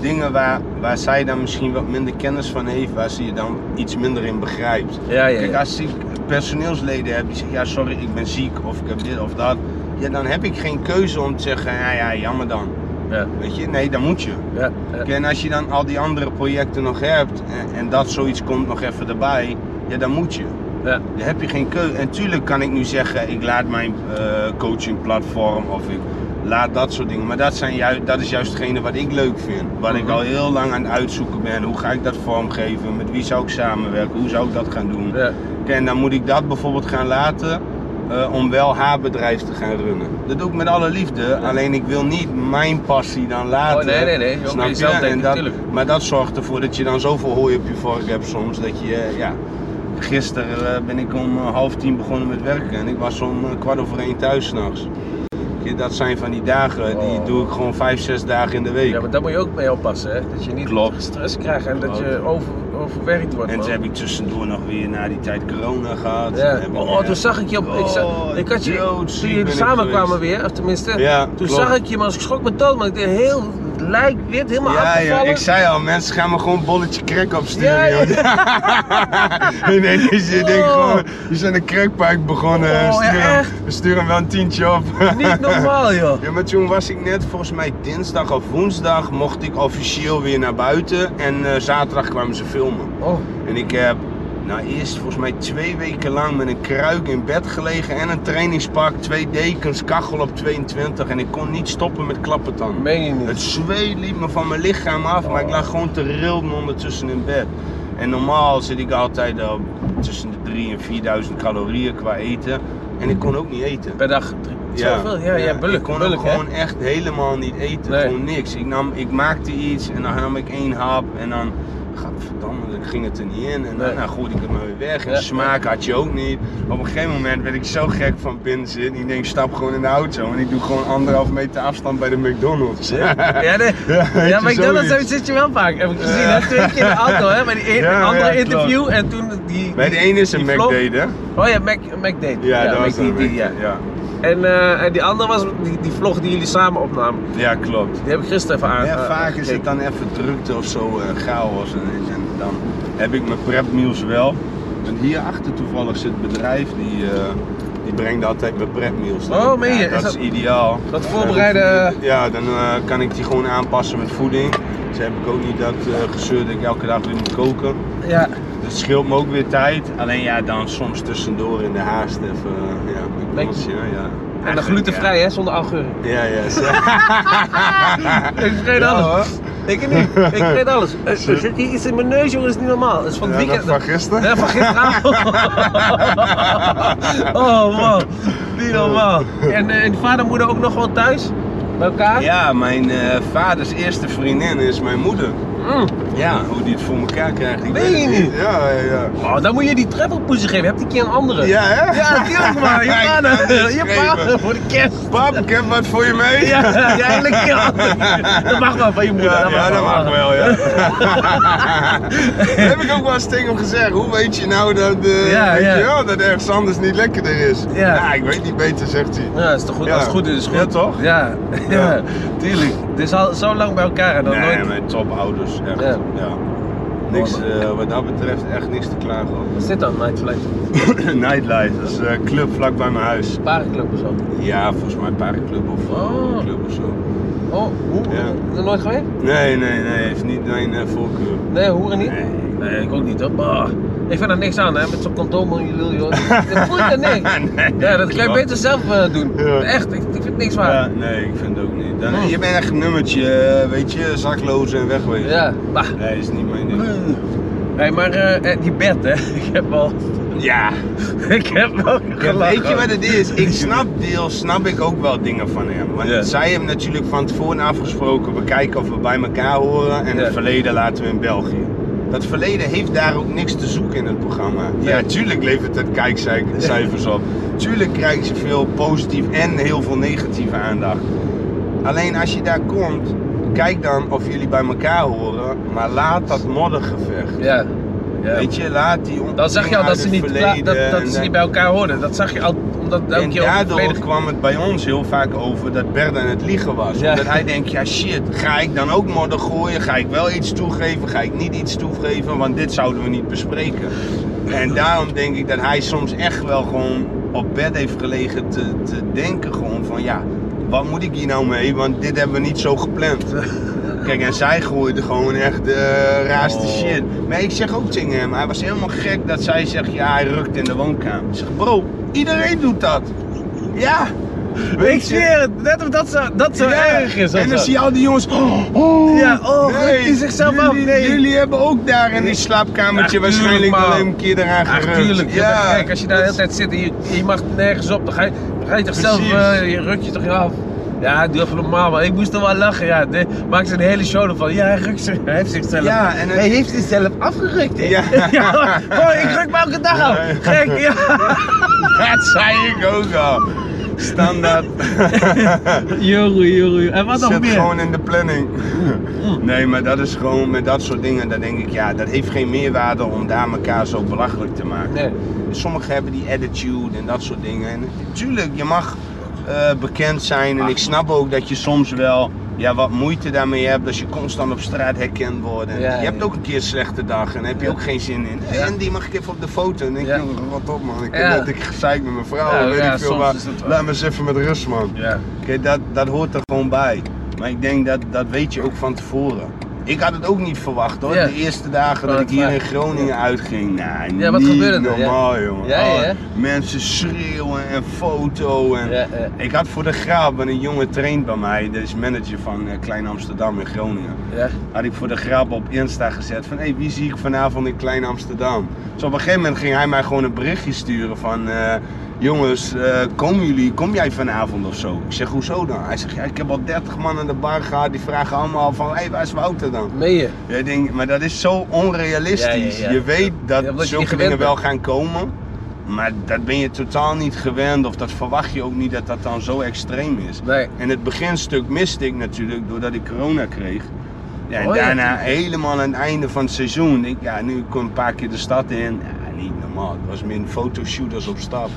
Speaker 1: dingen waar, waar zij dan misschien wat minder kennis van heeft, waar ze je dan iets minder in begrijpt.
Speaker 2: Ja, ja,
Speaker 1: Kijk,
Speaker 2: ja.
Speaker 1: als ik personeelsleden heb die zeggen, ja sorry, ik ben ziek of ik heb dit of dat, ja, dan heb ik geen keuze om te zeggen, ja, ja, jammer dan.
Speaker 2: Ja,
Speaker 1: Weet je, nee, dan moet je.
Speaker 2: ja, ja.
Speaker 1: Kijk, En als je dan al die andere projecten nog hebt en, en dat zoiets komt nog even erbij, ja, dan moet je.
Speaker 2: Ja.
Speaker 1: Dan heb je geen keuze. En tuurlijk kan ik nu zeggen, ik laat mijn eh, coachingplatform of ik laat dat soort dingen. Maar dat, zijn ju- dat is juist hetgene wat ik leuk vind. Wat ik
Speaker 2: Mhm.
Speaker 1: al heel lang aan het uitzoeken ben. Hoe ga ik dat vormgeven? Met wie zou ik samenwerken? Hoe zou ik dat gaan doen?
Speaker 2: ja.
Speaker 1: En dan moet ik dat bijvoorbeeld gaan laten eh, om wel haar bedrijf te gaan runnen. Dat doe ik met alle liefde, alleen ik wil niet mijn passie dan laten.
Speaker 2: Oh, nee, nee, nee. Ook
Speaker 1: Snap
Speaker 2: bij jezelf
Speaker 1: En
Speaker 2: denken,
Speaker 1: dat-
Speaker 2: tuurlijk.
Speaker 1: Maar dat zorgt ervoor dat je dan zoveel hooi op je vork hebt soms, dat je, eh, ja... Gisteren eh, ben ik om eh, half tien begonnen met werken en ik was om eh, kwart over één thuis s'nachts. Dat zijn van die dagen, die
Speaker 2: Oh.
Speaker 1: doe ik gewoon vijf, zes dagen in de week.
Speaker 2: Ja, maar daar moet je ook mee oppassen, hè? Dat je niet
Speaker 1: Klopt.
Speaker 2: stress krijgt en dat je over, overwerkt wordt.
Speaker 1: Oh. En
Speaker 2: man.
Speaker 1: toen heb ik tussendoor nog weer na die tijd corona gehad.
Speaker 2: Ja.
Speaker 1: Heb ik,
Speaker 2: Oh,
Speaker 1: eh,
Speaker 2: toen zag ik je op. Ik, zag,
Speaker 1: Oh,
Speaker 2: ik had je.
Speaker 1: doodziek
Speaker 2: Toen
Speaker 1: ben
Speaker 2: jullie
Speaker 1: ik
Speaker 2: samenkwamen
Speaker 1: geweest.
Speaker 2: weer, of tenminste.
Speaker 1: Ja,
Speaker 2: toen
Speaker 1: klopt.
Speaker 2: zag ik je, maar ik schrok me dood, maar ik deed heel lijkwit, helemaal
Speaker 1: Ja, joh,
Speaker 2: afgevallen.
Speaker 1: ik zei al, mensen gaan me gewoon een bolletje crack opsturen.
Speaker 2: Ja, ja.
Speaker 1: joh. nee, nee, dus je denkt gewoon, we zijn een crackpark begonnen.
Speaker 2: Oh,
Speaker 1: stuur
Speaker 2: ja,
Speaker 1: hem-
Speaker 2: echt?
Speaker 1: we sturen hem wel een tientje op.
Speaker 2: Niet normaal, joh.
Speaker 1: Ja, maar toen was ik net, volgens mij dinsdag of woensdag, mocht ik officieel weer naar buiten. En eh, zaterdag kwamen ze filmen.
Speaker 2: Oh,
Speaker 1: En ik heb nou, eerst volgens mij twee weken lang met een kruik in bed gelegen en een trainingspak, twee dekens, kachel op 22. En ik kon niet stoppen met klappertanden.
Speaker 2: meen je niet.
Speaker 1: Het zweet liep me van mijn lichaam af, maar ik
Speaker 2: Oh.
Speaker 1: lag gewoon te rillen ondertussen in bed. En normaal zit ik altijd eh, tussen de 3.000 en 4000 calorieën qua eten. En ik kon ook niet eten.
Speaker 2: Per dag drie- zoveel? Ja, ja, bulk.
Speaker 1: Ik kon
Speaker 2: bulk,
Speaker 1: ook
Speaker 2: hè?
Speaker 1: gewoon echt helemaal niet eten,
Speaker 2: Nee.
Speaker 1: gewoon niks. Ik, nam, ik maakte iets en dan nam ik één hap en dan, gadverdamme, dan ging het er niet in. En
Speaker 2: Nee.
Speaker 1: daarna gooide ik het maar weer weg. En
Speaker 2: Ja.
Speaker 1: smaak had je ook niet. Op een gegeven moment werd ik zo gek van binnen zitten. Ik denk, stap gewoon in de auto en ik doe gewoon anderhalf meter afstand bij de McDonald's.
Speaker 2: Ja, nee.
Speaker 1: Ja, weet
Speaker 2: Ja,
Speaker 1: je,
Speaker 2: maar ik denk dat
Speaker 1: zoiets.
Speaker 2: zo zit je wel vaak. Heb ik gezien,
Speaker 1: Ja.
Speaker 2: hè? Twee keer in de auto, hè? Bij die ene-
Speaker 1: Ja,
Speaker 2: andere
Speaker 1: ja, klopt.
Speaker 2: interview en toen die...
Speaker 1: Bij de
Speaker 2: die-
Speaker 1: ene is een
Speaker 2: die vlog.
Speaker 1: McDate, hè?
Speaker 2: Oh ja, Mac, McDate.
Speaker 1: Ja, dat
Speaker 2: Mac-
Speaker 1: was een
Speaker 2: die- die-
Speaker 1: McDate,
Speaker 2: ja.
Speaker 1: ja.
Speaker 2: En, eh, en die andere was die, die vlog die jullie samen opnamen.
Speaker 1: Ja, klopt.
Speaker 2: Die heb ik gisteren even aan.
Speaker 1: Ja,
Speaker 2: eh,
Speaker 1: vaak is het
Speaker 2: gekeken.
Speaker 1: dan even drukte of zo, eh, chaos. En, en dan heb ik mijn prepmeals wel. En hierachter toevallig zit het bedrijf, die, eh, die brengt altijd mijn prepmeals. dan.
Speaker 2: Oh, meen je?
Speaker 1: Ja,
Speaker 2: Is
Speaker 1: dat
Speaker 2: dat-
Speaker 1: is ideaal.
Speaker 2: Dat
Speaker 1: Eh,
Speaker 2: voorbereiden-
Speaker 1: ja, dan eh, kan ik die gewoon aanpassen met voeding. Dus heb ik ook niet dat eh gezeur dat ik elke dag weer moet koken.
Speaker 2: Ja.
Speaker 1: Dat scheelt me ook weer tijd. Alleen ja, dan soms tussendoor in de haast even eh, ja, een McDonald'sje, ja.
Speaker 2: En dan
Speaker 1: Eigenlijk,
Speaker 2: glutenvrij, hè, zonder augurken.
Speaker 1: Ja, ja. ja zo.
Speaker 2: Ik vreet
Speaker 1: Ja,
Speaker 2: alles.
Speaker 1: hoor.
Speaker 2: Ik niet. Ik vreet alles. Er, er zit hier iets in mijn neus, jongen, dat is niet normaal. Dat is van het
Speaker 1: Ja, dat
Speaker 2: weekend.
Speaker 1: van gisteren.
Speaker 2: Ja, van gisteravond. oh, man. Niet normaal. En, eh, en vader en moeder ook nog wel thuis? Bij elkaar?
Speaker 1: Ja, mijn eh, vaders eerste vriendin is mijn moeder.
Speaker 2: Mm.
Speaker 1: Ja, hoe die het voor elkaar krijgt, ik
Speaker 2: Meen
Speaker 1: weet
Speaker 2: je
Speaker 1: het niet.
Speaker 2: niet?
Speaker 1: Ja, ja, ja.
Speaker 2: Oh, dan moet je die treffelpoesie geven. Heb die keer een andere?
Speaker 1: Ja, hè?
Speaker 2: Ja, natuurlijk, man. Je
Speaker 1: Kijk, dat
Speaker 2: vader.
Speaker 1: is
Speaker 2: Je
Speaker 1: geschreven.
Speaker 2: vader voor de kerst.
Speaker 1: Pap, ik heb wat voor je mee.
Speaker 2: Ja, ja, elke keer anders. Dat mag wel van je moeder.
Speaker 1: Ja, ja, dat mag wel, ja. dat heb ik ook wel eens tegen hem gezegd. Hoe weet je nou dat, eh,
Speaker 2: Ja,
Speaker 1: weet
Speaker 2: ja.
Speaker 1: Je wel, dat ergens anders niet lekkerder is?
Speaker 2: Ja.
Speaker 1: ik weet niet beter, zegt hij.
Speaker 2: Ja, is toch goed?
Speaker 1: Ja.
Speaker 2: Als het goed is, is het
Speaker 1: Ja,
Speaker 2: goed.
Speaker 1: toch?
Speaker 2: Ja, ja.
Speaker 1: Ja.
Speaker 2: tuurlijk. Het is al zo lang bij elkaar en dan
Speaker 1: nee,
Speaker 2: nooit...
Speaker 1: mijn topouders, echt.
Speaker 2: Ja.
Speaker 1: Ja. Niks, eh, wat dat betreft, echt niks te klagen over.
Speaker 2: Wat is dit dan, Nightflight?
Speaker 1: Nightlife, dat is een club vlak bij mijn huis.
Speaker 2: Parenclub of zo?
Speaker 1: Ja, volgens mij paardenclub of
Speaker 2: Oh.
Speaker 1: eh, club of zo.
Speaker 2: Oh, hoe?
Speaker 1: Ja.
Speaker 2: Is er nooit geweest?
Speaker 1: Nee, nee, nee, heeft niet mijn eh, voorkeur.
Speaker 2: Nee, hoeren niet?
Speaker 1: Nee.
Speaker 2: Nee, ik ook niet hoor. Bah. Ik vind er niks aan hè, met zo'n condoom om je lul joh. Dat voelt er niks.
Speaker 1: Nee,
Speaker 2: Ja, dat kan je
Speaker 1: klopt.
Speaker 2: beter zelf eh, doen.
Speaker 1: Ja.
Speaker 2: Echt, ik, ik vind niks
Speaker 1: Ja,
Speaker 2: waar.
Speaker 1: nee, ik vind het ook niet. Dan,
Speaker 2: Oh.
Speaker 1: Je bent echt een nummertje, eh, weet je, zakloos en wegwezen.
Speaker 2: Ja, bah.
Speaker 1: Nee, is niet mijn ding.
Speaker 2: Hey, maar eh, eh, die bed hè, ik heb al,
Speaker 1: Ja,
Speaker 2: ik heb wel
Speaker 1: Ja,
Speaker 2: gelachen.
Speaker 1: weet je wat het is? Ik snap deels, snap ik ook wel dingen van hem. Want
Speaker 2: Ja.
Speaker 1: zij hebben natuurlijk van tevoren afgesproken, we kijken of we bij elkaar horen en
Speaker 2: Ja.
Speaker 1: het verleden laten we in België. Dat verleden heeft daar ook niks te zoeken in het programma. Ja,
Speaker 2: Nee.
Speaker 1: tuurlijk levert het kijkcijfers op. Tuurlijk krijgen ze veel positief en heel veel negatieve aandacht. Alleen als je daar komt, kijk dan of jullie bij elkaar horen, maar laat dat moddergevecht.
Speaker 2: Ja. ja.
Speaker 1: Weet je, laat die
Speaker 2: Dan zag je al dat ze niet,
Speaker 1: verleden,
Speaker 2: klaar- dat, dat
Speaker 1: en eh,
Speaker 2: ze niet bij elkaar hoorden. Dat zag je al omdat elke
Speaker 1: en
Speaker 2: keer over het
Speaker 1: daardoor
Speaker 2: verleden-
Speaker 1: kwam het bij ons heel vaak over dat Bert aan het liegen was.
Speaker 2: Ja.
Speaker 1: Omdat hij denkt, ja shit, ga ik dan ook modder gooien? Ga ik wel iets toegeven? Ga ik niet iets toegeven? Want dit zouden we niet bespreken. En daarom denk ik dat hij soms echt wel gewoon op bed heeft gelegen te, te denken gewoon van ja, wat moet ik hier nou mee? Want dit hebben we niet zo gepland. Kijk, en zij gooide gewoon echt de raarste
Speaker 2: Oh.
Speaker 1: shit. Maar ik zeg ook tegen hem, hij was helemaal gek dat zij zegt, ja, hij rukt in de woonkamer. Ik zeg, bro, iedereen doet dat. Ja.
Speaker 2: Ik zweer het, net of dat zo, dat zo
Speaker 1: Ja.
Speaker 2: erg is. of
Speaker 1: En dan
Speaker 2: zo.
Speaker 1: zie je al die jongens, oh, oh,
Speaker 2: Ja, oh, rukt hij zichzelf af?
Speaker 1: jullie,
Speaker 2: Nee.
Speaker 1: Jullie hebben ook daar in die
Speaker 2: Ach,
Speaker 1: slaapkamertje
Speaker 2: tuurlijk,
Speaker 1: waarschijnlijk
Speaker 2: man.
Speaker 1: wel een keer eraan
Speaker 2: Ach,
Speaker 1: gerukt.
Speaker 2: tuurlijk. Ja. Kijk, als je daar de hele tijd zit en je, je mag nergens op, dan ga je, dan ga je toch zelf,
Speaker 1: Precies.
Speaker 2: eh, je rukt je toch af. Ja, doe even normaal, maar ik moest er wel lachen. Ja, de, maakt ze een hele show ervan. Ja, hij rukt zich, hij heeft zichzelf.
Speaker 1: Ja, en het-
Speaker 2: hij heeft zichzelf afgerukt, hè?
Speaker 1: Ja.
Speaker 2: gewoon, ik ruk me elke dag af.
Speaker 1: Ja.
Speaker 2: Gek, ja.
Speaker 1: dat zei ik ook al. Standaard.
Speaker 2: Jongen, jongen. En wat nog
Speaker 1: Zit
Speaker 2: meer? Mm.
Speaker 1: gewoon in de planning. Nee, maar dat is gewoon met dat soort dingen. Dan denk ik, ja, dat heeft geen meerwaarde om daar elkaar zo belachelijk te maken.
Speaker 2: Nee.
Speaker 1: Sommigen hebben die attitude en dat soort dingen. En natuurlijk, je mag eh, bekend zijn. En ik snap ook dat je soms wel ja, wat moeite daarmee hebt. Als je constant op straat herkend wordt. En
Speaker 2: Ja,
Speaker 1: je hebt
Speaker 2: ja.
Speaker 1: ook een keer een slechte dag en daar heb je
Speaker 2: Ja.
Speaker 1: ook geen zin in.
Speaker 2: Ja.
Speaker 1: En die mag ik even op de foto. En dan denk
Speaker 2: Ja.
Speaker 1: ik, joh, wat op man. Ik
Speaker 2: Ja.
Speaker 1: heb net ik gezeik met mijn vrouw.
Speaker 2: Ja,
Speaker 1: weet
Speaker 2: ja,
Speaker 1: ik veel,
Speaker 2: soms
Speaker 1: maar
Speaker 2: is het wel.
Speaker 1: laat me eens even met rust man.
Speaker 2: Ja.
Speaker 1: Kijk, dat, dat hoort er gewoon bij. Maar ik denk dat dat weet je ook van tevoren. Ik had het ook niet verwacht hoor.
Speaker 2: Ja.
Speaker 1: De eerste dagen
Speaker 2: Wou
Speaker 1: dat
Speaker 2: ik
Speaker 1: ik hier in
Speaker 2: vragen.
Speaker 1: Groningen uitging. Nou,
Speaker 2: Ja, wat
Speaker 1: niet
Speaker 2: gebeurde er? Ja.
Speaker 1: normaal jongen.
Speaker 2: Ja, ja, ja.
Speaker 1: Oh, mensen schreeuwen en foto. En...
Speaker 2: Ja, ja.
Speaker 1: Ik had voor de graaf, want een jongen traint bij mij, dat is manager van eh, Klein Amsterdam in Groningen
Speaker 2: Ja.
Speaker 1: had ik voor de grap op Insta gezet van, hé, hey, wie zie ik vanavond in Klein Amsterdam? Dus op een gegeven moment ging hij mij gewoon een berichtje sturen van, eh, jongens, eh, komen jullie, kom jij vanavond of zo? Ik zeg, hoezo dan? Hij zegt, ja, ik heb al 30 man aan de bar gehad, die vragen allemaal van, hé, hey, waar is Wouter dan?
Speaker 2: Meen je?
Speaker 1: Ja, ik denk, maar dat is zo onrealistisch.
Speaker 2: Ja, ja, ja.
Speaker 1: Je weet dat
Speaker 2: Ja, omdat je
Speaker 1: zulke
Speaker 2: niet
Speaker 1: dingen
Speaker 2: gewend
Speaker 1: wel gaan komen, maar dat ben je totaal niet gewend of dat verwacht je ook niet dat dat dan zo extreem is.
Speaker 2: Nee.
Speaker 1: En het beginstuk miste ik natuurlijk doordat ik corona kreeg. Ja, en
Speaker 2: Oh ja,
Speaker 1: daarna
Speaker 2: tuurlijk.
Speaker 1: helemaal aan het einde van het seizoen. Ik, ja, nu kom een paar keer de stad in. Ja, niet normaal. Het was min fotoshooters op stap.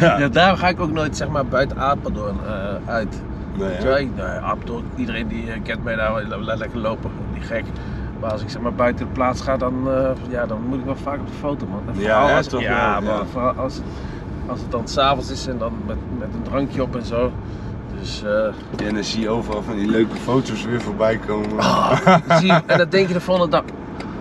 Speaker 1: Ja.
Speaker 2: Ja, daarom ga ik ook nooit zeg maar buiten Apeldoorn eh, uit.
Speaker 1: Nee,
Speaker 2: Weet
Speaker 1: hè?
Speaker 2: je wel, ik- nou ja, Apeldoorn, iedereen die eh, kent mij daar, la- laat lekker lopen, die gek. Maar als ik zeg maar buiten de plaats ga, dan, eh, ja, dan moet ik wel vaak op de foto man. En
Speaker 1: Ja,
Speaker 2: vooral
Speaker 1: hè,
Speaker 2: als,
Speaker 1: toch
Speaker 2: ja,
Speaker 1: wel,
Speaker 2: maar
Speaker 1: ja.
Speaker 2: vooral als, als het dan s'avonds is en dan met, met een drankje op en zo. Dus eh,
Speaker 1: En dan zie je overal van die leuke foto's weer voorbij komen.
Speaker 2: Ah, zie je- en dat denk je de volgende dag.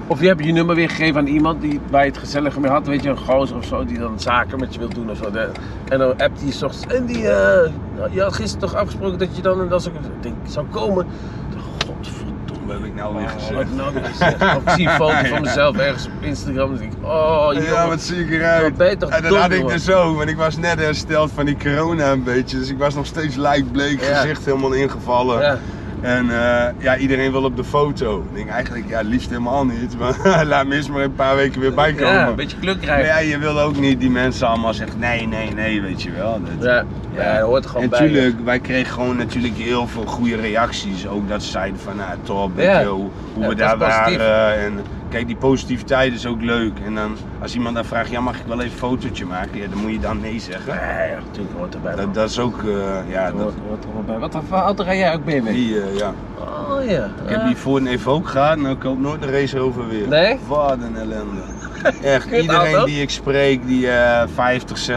Speaker 2: Of je hebt je nummer weer gegeven aan iemand die, waar je het gezellig mee had. Weet je, een gozer of zo die dan zaken met je wil doen of zo. De- En dan appt hij 's ochtends. En die, eh, je had gisteren toch afgesproken dat je dan en dat zou, ik denk, zou komen. Ik dacht, Godverdomme,
Speaker 1: Wat heb ik nou
Speaker 2: oh,
Speaker 1: weer
Speaker 2: wat heb
Speaker 1: gezegd?
Speaker 2: ik nou weer gezegd? Of ik zie een foto van mezelf ergens op Instagram. En denk ik, oh jongen.
Speaker 1: Ja, wat zie ik eruit.
Speaker 2: Wat ben je toch
Speaker 1: en dan
Speaker 2: dom,
Speaker 1: had ik
Speaker 2: jongen.
Speaker 1: er zo, want ik was net hersteld van die corona een beetje. Dus ik was nog steeds lijkbleek,
Speaker 2: Ja.
Speaker 1: gezicht helemaal ingevallen.
Speaker 2: Ja.
Speaker 1: En eh, ja, iedereen wil op de foto. Ik denk eigenlijk, ja, liefst helemaal niet. Maar laat me eens maar een paar weken weer bijkomen.
Speaker 2: Ja, een beetje kluk
Speaker 1: maar
Speaker 2: krijgen.
Speaker 1: ja, je wil ook niet die mensen allemaal zeggen, nee, nee, nee, weet je wel. Dat-
Speaker 2: Ja, ja, dat hoort er gewoon
Speaker 1: en
Speaker 2: bij.
Speaker 1: Tuurlijk, wij kregen gewoon natuurlijk heel veel goede reacties. Ook dat ze zeiden van, nou top, weet
Speaker 2: Ja.
Speaker 1: je, hoe, hoe
Speaker 2: Ja,
Speaker 1: we
Speaker 2: dat is
Speaker 1: daar
Speaker 2: positief.
Speaker 1: waren. En kijk, die positiviteit is ook leuk. En dan, als iemand dan vraagt, ja, mag ik wel even een fotootje maken? Ja, dan moet je dan nee zeggen.
Speaker 2: Ja, ja, natuurlijk hoort erbij. man.
Speaker 1: Dat, dat is ook, eh, ja,
Speaker 2: Dat
Speaker 1: dat,
Speaker 2: hoort, hoort er wel bij. Wat voor auto rij jij ook mee?
Speaker 1: die, eh, ja.
Speaker 2: Oh ja.
Speaker 1: Ik heb
Speaker 2: Ah.
Speaker 1: die voor een Evoque gehad en ik koop nooit een race over weer.
Speaker 2: Nee?
Speaker 1: Wat een ellende. Echt,
Speaker 2: Kut
Speaker 1: iedereen
Speaker 2: auto.
Speaker 1: die ik spreek die eh 50, 60.000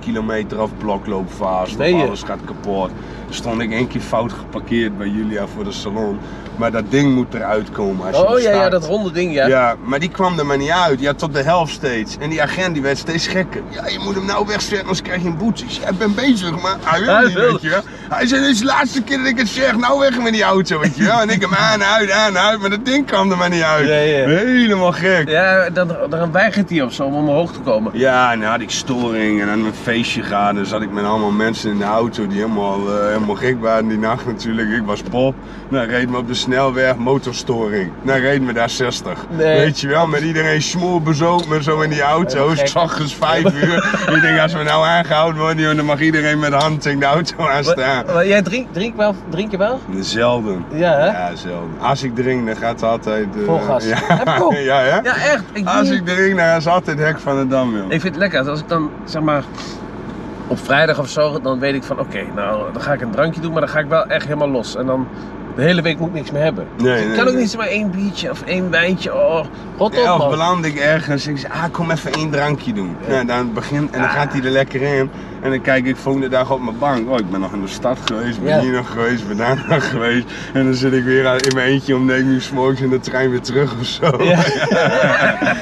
Speaker 1: kilometer af blok loopt vast.
Speaker 2: Nee,
Speaker 1: of
Speaker 2: joh.
Speaker 1: alles gaat kapot. Stond ik één keer fout geparkeerd bij Julia voor de salon. Maar dat ding moet eruit komen als je
Speaker 2: Oh
Speaker 1: hem
Speaker 2: ja, ja,
Speaker 1: start.
Speaker 2: dat ronde ding, ja.
Speaker 1: Ja, maar die kwam er maar niet uit. Ja, tot de helft steeds. En die agent die werd steeds gekker. Ja, je moet hem nou wegzetten, anders krijg je een boete. Ik zei, ja, ik ben bezig, maar hij wil
Speaker 2: Hij
Speaker 1: niet,
Speaker 2: wil.
Speaker 1: weet je wel. Hij zei, dit is de laatste keer dat ik het zeg, nou weg met die auto, weet je wel. En ik hem aan, uit, aan, uit, maar dat ding kwam er maar niet uit.
Speaker 2: Ja, ja.
Speaker 1: Helemaal gek. Ja.
Speaker 2: Ja, dan, dan weigert hij of zo om omhoog te komen.
Speaker 1: en dan had ik storing en aan een feestje gaan. Dan zat ik met allemaal mensen in de auto die helemaal, eh, helemaal gek waren die nacht natuurlijk. Ik was pop. Nou, reed me op de snelweg, motorstoring. Nou, reed me daar 60.
Speaker 2: Nee.
Speaker 1: Weet je wel, met iedereen smoorbezopen en zo in die auto's.
Speaker 2: Helemaal gek.
Speaker 1: Ik zag eens vijf uur. ik denk, als we nou aangehouden worden, joh, dan mag iedereen met de hand tegen de auto aanstaan.
Speaker 2: Maar- maar jij drink, drink, wel, drink je wel?
Speaker 1: Zelden.
Speaker 2: Ja, hè?
Speaker 1: Ja, zelden. Als ik drink, dan gaat het altijd... eh,
Speaker 2: Vol gas. Heb ik
Speaker 1: Ja,
Speaker 2: ook.
Speaker 1: ja, hè? Ah,
Speaker 2: Ja, echt. Ik,
Speaker 1: Als
Speaker 2: doe-
Speaker 1: ik drink, dan is altijd hek van de dam, joh.
Speaker 2: ik vind het lekker. Als ik dan, zeg maar, op vrijdag of zo, dan weet ik van, oké, nou, dan ga ik een drankje doen, maar dan ga ik wel echt helemaal los. En dan, de hele week moet ik niks meer hebben.
Speaker 1: Nee,
Speaker 2: Dus ik
Speaker 1: nee,
Speaker 2: kan ook
Speaker 1: nee.
Speaker 2: niet zomaar één biertje of één wijntje, oh, rot op,
Speaker 1: Elf
Speaker 2: man.
Speaker 1: beland ik ergens. Ik zeg, ah, kom even één drankje doen.
Speaker 2: Ja.
Speaker 1: Nou, dan begint en dan
Speaker 2: Ah.
Speaker 1: gaat hij er lekker in. En dan kijk ik volgende dag op mijn bank. Oh, ik ben nog in de stad geweest, ben
Speaker 2: Ja.
Speaker 1: hier nog geweest, ben daar nog geweest. En dan zit ik weer aan- in mijn eentje om negen uur 's morgens in de trein weer terug of zo.
Speaker 2: Ja.
Speaker 1: Ja,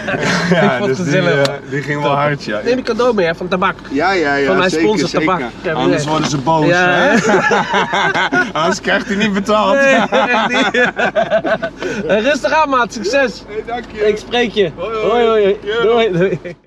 Speaker 2: Ik vond het
Speaker 1: dus die,
Speaker 2: gezellig.
Speaker 1: eh, die ging wel hard, ja.
Speaker 2: Neem een cadeau mee, hè, van tabak.
Speaker 1: Ja, ja, ja.
Speaker 2: Van mijn
Speaker 1: zeker,
Speaker 2: sponsor
Speaker 1: zeker.
Speaker 2: tabak. Ik heb
Speaker 1: Anders
Speaker 2: weer-
Speaker 1: worden ze boos.
Speaker 2: Ja,
Speaker 1: hè? Anders krijgt hij niet betaald.
Speaker 2: Nee, echt niet. Rustig aan, maat. Succes.
Speaker 1: Nee, dank je.
Speaker 2: Ik spreek je.
Speaker 1: Hoi, hoi.
Speaker 2: Doei. doei.